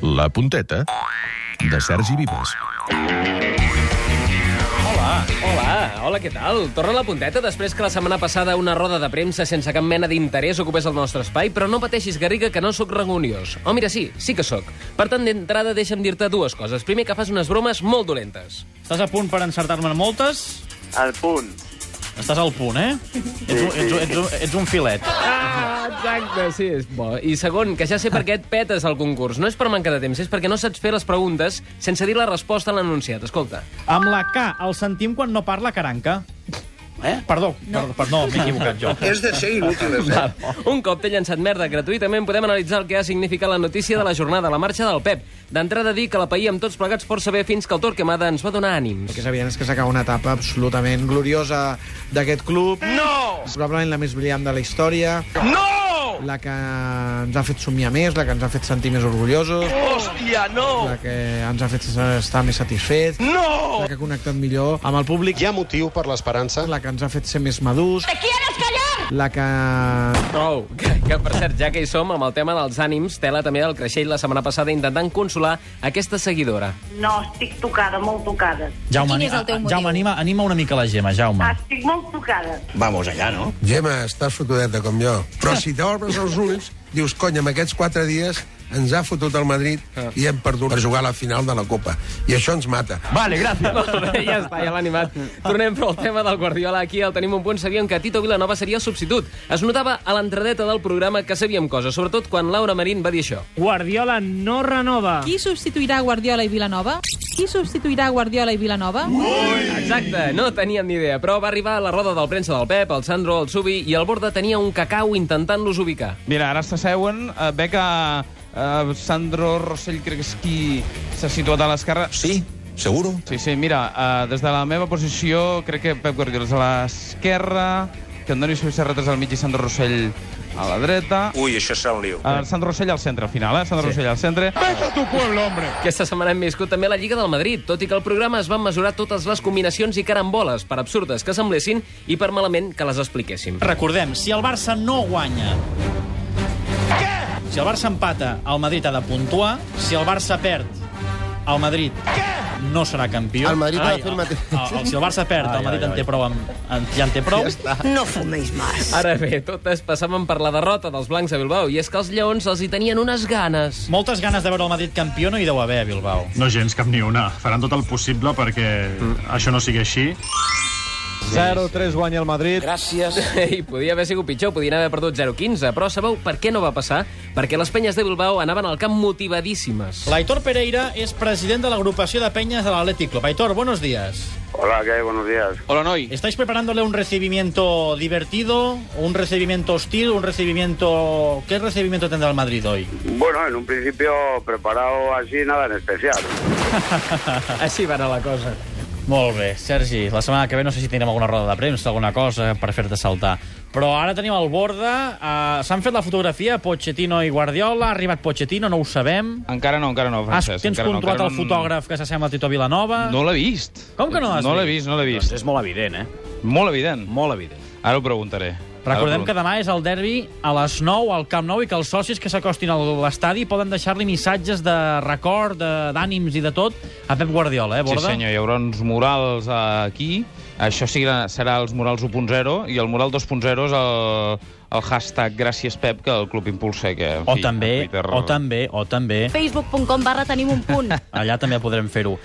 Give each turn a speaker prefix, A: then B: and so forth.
A: La punteta de Sergi Vives.
B: Hola, hola, hola, què tal? Torna la punteta després que la setmana passada una roda de premsa sense cap mena d'interès ocupés el nostre espai, però no pateixis, Garriga, que no sóc rangoniós. Oh, mira, sí, sí que sóc. Per tant, d'entrada, deixa'm dir-te dues coses. Primer, que fas unes bromes molt dolentes.
C: Estàs a punt per encertar-me en moltes?
D: Al punt.
C: Estàs al punt, eh? Ets un, ets, un- ets, un, ets un filet.
B: Ah, exacte, sí, és bo. I segon, que ja sé per què et petes al concurs. No és per manca de temps, és perquè no saps fer les preguntes sense dir la resposta a l'anunciat. Escolta.
C: Amb la K, el sentim quan no parla caranca. Eh? Perdó, no, perdó, perdó m'he equivocat jo.
E: És de ser inútiles, eh?
B: Un cop t'he llançat merda gratuïtament, podem analitzar el que ha significat la notícia de la jornada, la marxa del Pep. D'entrada dir que la paia amb tots plegats força bé fins que el Torquemada ens va donar ànims.
F: que és evident és que s'acaba una etapa absolutament gloriosa d'aquest club. No! Probablement la més brillant de la història. No! La que ens ha fet somiar més, la que ens ha fet sentir més orgullosos. Hòstia, no! La que ens ha fet estar més satisfets. No! La que ha connectat millor amb el públic.
G: Hi ha motiu per l'esperança?
F: La que ens ha fet ser més madurs. Te quieres callar! La que
B: Prou. Que, que, per cert, ja que hi som, amb el tema dels ànims, tela també del Creixell la setmana passada intentant consolar aquesta seguidora.
H: No, estic tocada, molt tocada.
C: Jaume,
I: Quin és el teu
C: ani-
I: motiu?
C: Jaume anima, anima una mica la Gemma, Jaume.
H: Estic molt tocada.
E: Vamos allà, no?
J: Gemma, estàs fotudeta com jo. Però si t'obres els ulls, dius, cony, amb aquests quatre dies ens ha fotut el Madrid i hem perdut per jugar a la final de la Copa. I això ens mata.
C: Vale, gràcies.
B: Molt bé, ja està, ja l'ha animat. Tornem, però, al tema del Guardiola. Aquí el tenim un punt. Sabíem que Tito Vilanova seria el substitut. Es notava a l'entradeta del programa que sabíem coses, sobretot quan Laura Marín va dir això.
C: Guardiola no renova.
I: Ah. Qui substituirà Guardiola i Vilanova? Qui substituirà Guardiola i Vilanova?
B: Exacte, no teníem ni idea, però va arribar a la roda del premsa del Pep, el Sandro, el Subi, i el Borda tenia un cacau intentant-los ubicar.
K: Mira, ara s'asseuen, eh, ve que eh, Sandro Rossell crec que és qui s'ha situat a l'esquerra.
G: Sí, seguro.
K: Sí, sí, mira, eh, des de la meva posició crec que Pep Guardiola és a l'esquerra, que Antoni Suï Serrat és al mig i Sandro Rossell a la dreta.
D: Ui, això serà un lío.
K: Eh, Sandro Rossell al centre, al final, eh? Sandro sí. Rossell al centre. Vete a tu pueblo, hombre!
B: Aquesta setmana hem viscut també la Lliga del Madrid, tot i que al programa es van mesurar totes les combinacions i caramboles, per absurdes que semblessin i per malament que les expliquéssim.
C: Recordem, si el Barça no guanya... Què? Si el Barça empata, el Madrid ha de puntuar. Si el Barça perd, el Madrid no serà campió.
G: El Madrid ha de
C: Ai,
G: fer el mateix.
C: el- el- Si el Barça perd, el Madrid en té prou, amb, en, ja en té prou. Ja està.
H: No fuméis más.
B: Ara bé, totes passaven per la derrota dels blancs a Bilbao, i és que els lleons els hi tenien unes ganes.
C: Moltes ganes de veure el Madrid campió no hi deu haver a Bilbao.
K: No gens, cap ni una. Faran tot el possible perquè mm. això no sigui així.
G: 0-3 guanya el Madrid.
D: Gràcies.
B: I podia haver sigut pitjor, podien haver perdut 0-15, però sabeu per què no va passar? Perquè les penyes de Bilbao anaven al camp motivadíssimes.
C: L'Aitor Pereira és president de l'agrupació de penyes de l'Atlètic Club. Aitor, buenos días.
D: Hola, què? Buenos días.
K: Hola, noi.
C: ¿Estáis preparándole un recibimiento divertido, un recibimiento hostil, un recibimiento... ¿Qué recibimiento tendrá el Madrid hoy?
D: Bueno, en un principio preparado así, nada en especial.
B: Així va anar la cosa.
C: Molt bé, Sergi, la setmana que ve no sé si tindrem alguna roda de premsa, alguna cosa per fer-te saltar. Però ara tenim el Borda, eh, s'han fet la fotografia, Pochettino i Guardiola, ha arribat Pochettino, no ho sabem.
K: Encara no, encara no,
C: Has,
K: Francesc.
C: Ah, tens
K: encara
C: controlat
K: no,
C: el fotògraf que s'assembla a Tito Vilanova?
K: No l'he vist.
C: Com que no l'has
K: No l'he
C: vist? Doncs
K: vist, no l'he vist.
B: És molt evident, eh?
K: Molt evident.
B: Molt evident.
K: Ara ho preguntaré. Ah,
C: Recordem que demà és el derbi a les 9 al Camp Nou i que els socis que s'acostin a l'estadi poden deixar-li missatges de record, de- d'ànims i de tot a Pep Guardiola, eh,
K: Sí,
C: Borda?
K: senyor, hi haurà uns murals eh, aquí. Això sí, serà els murals 1.0 i el mural 2.0 és el, el hashtag Gràcies Pep que el club impulsa. Que, en
C: O
K: fi, a
C: també,
K: Twitter...
C: o també, o també,
I: Facebook.com barra tenim un punt.
C: allà també podrem fer-ho.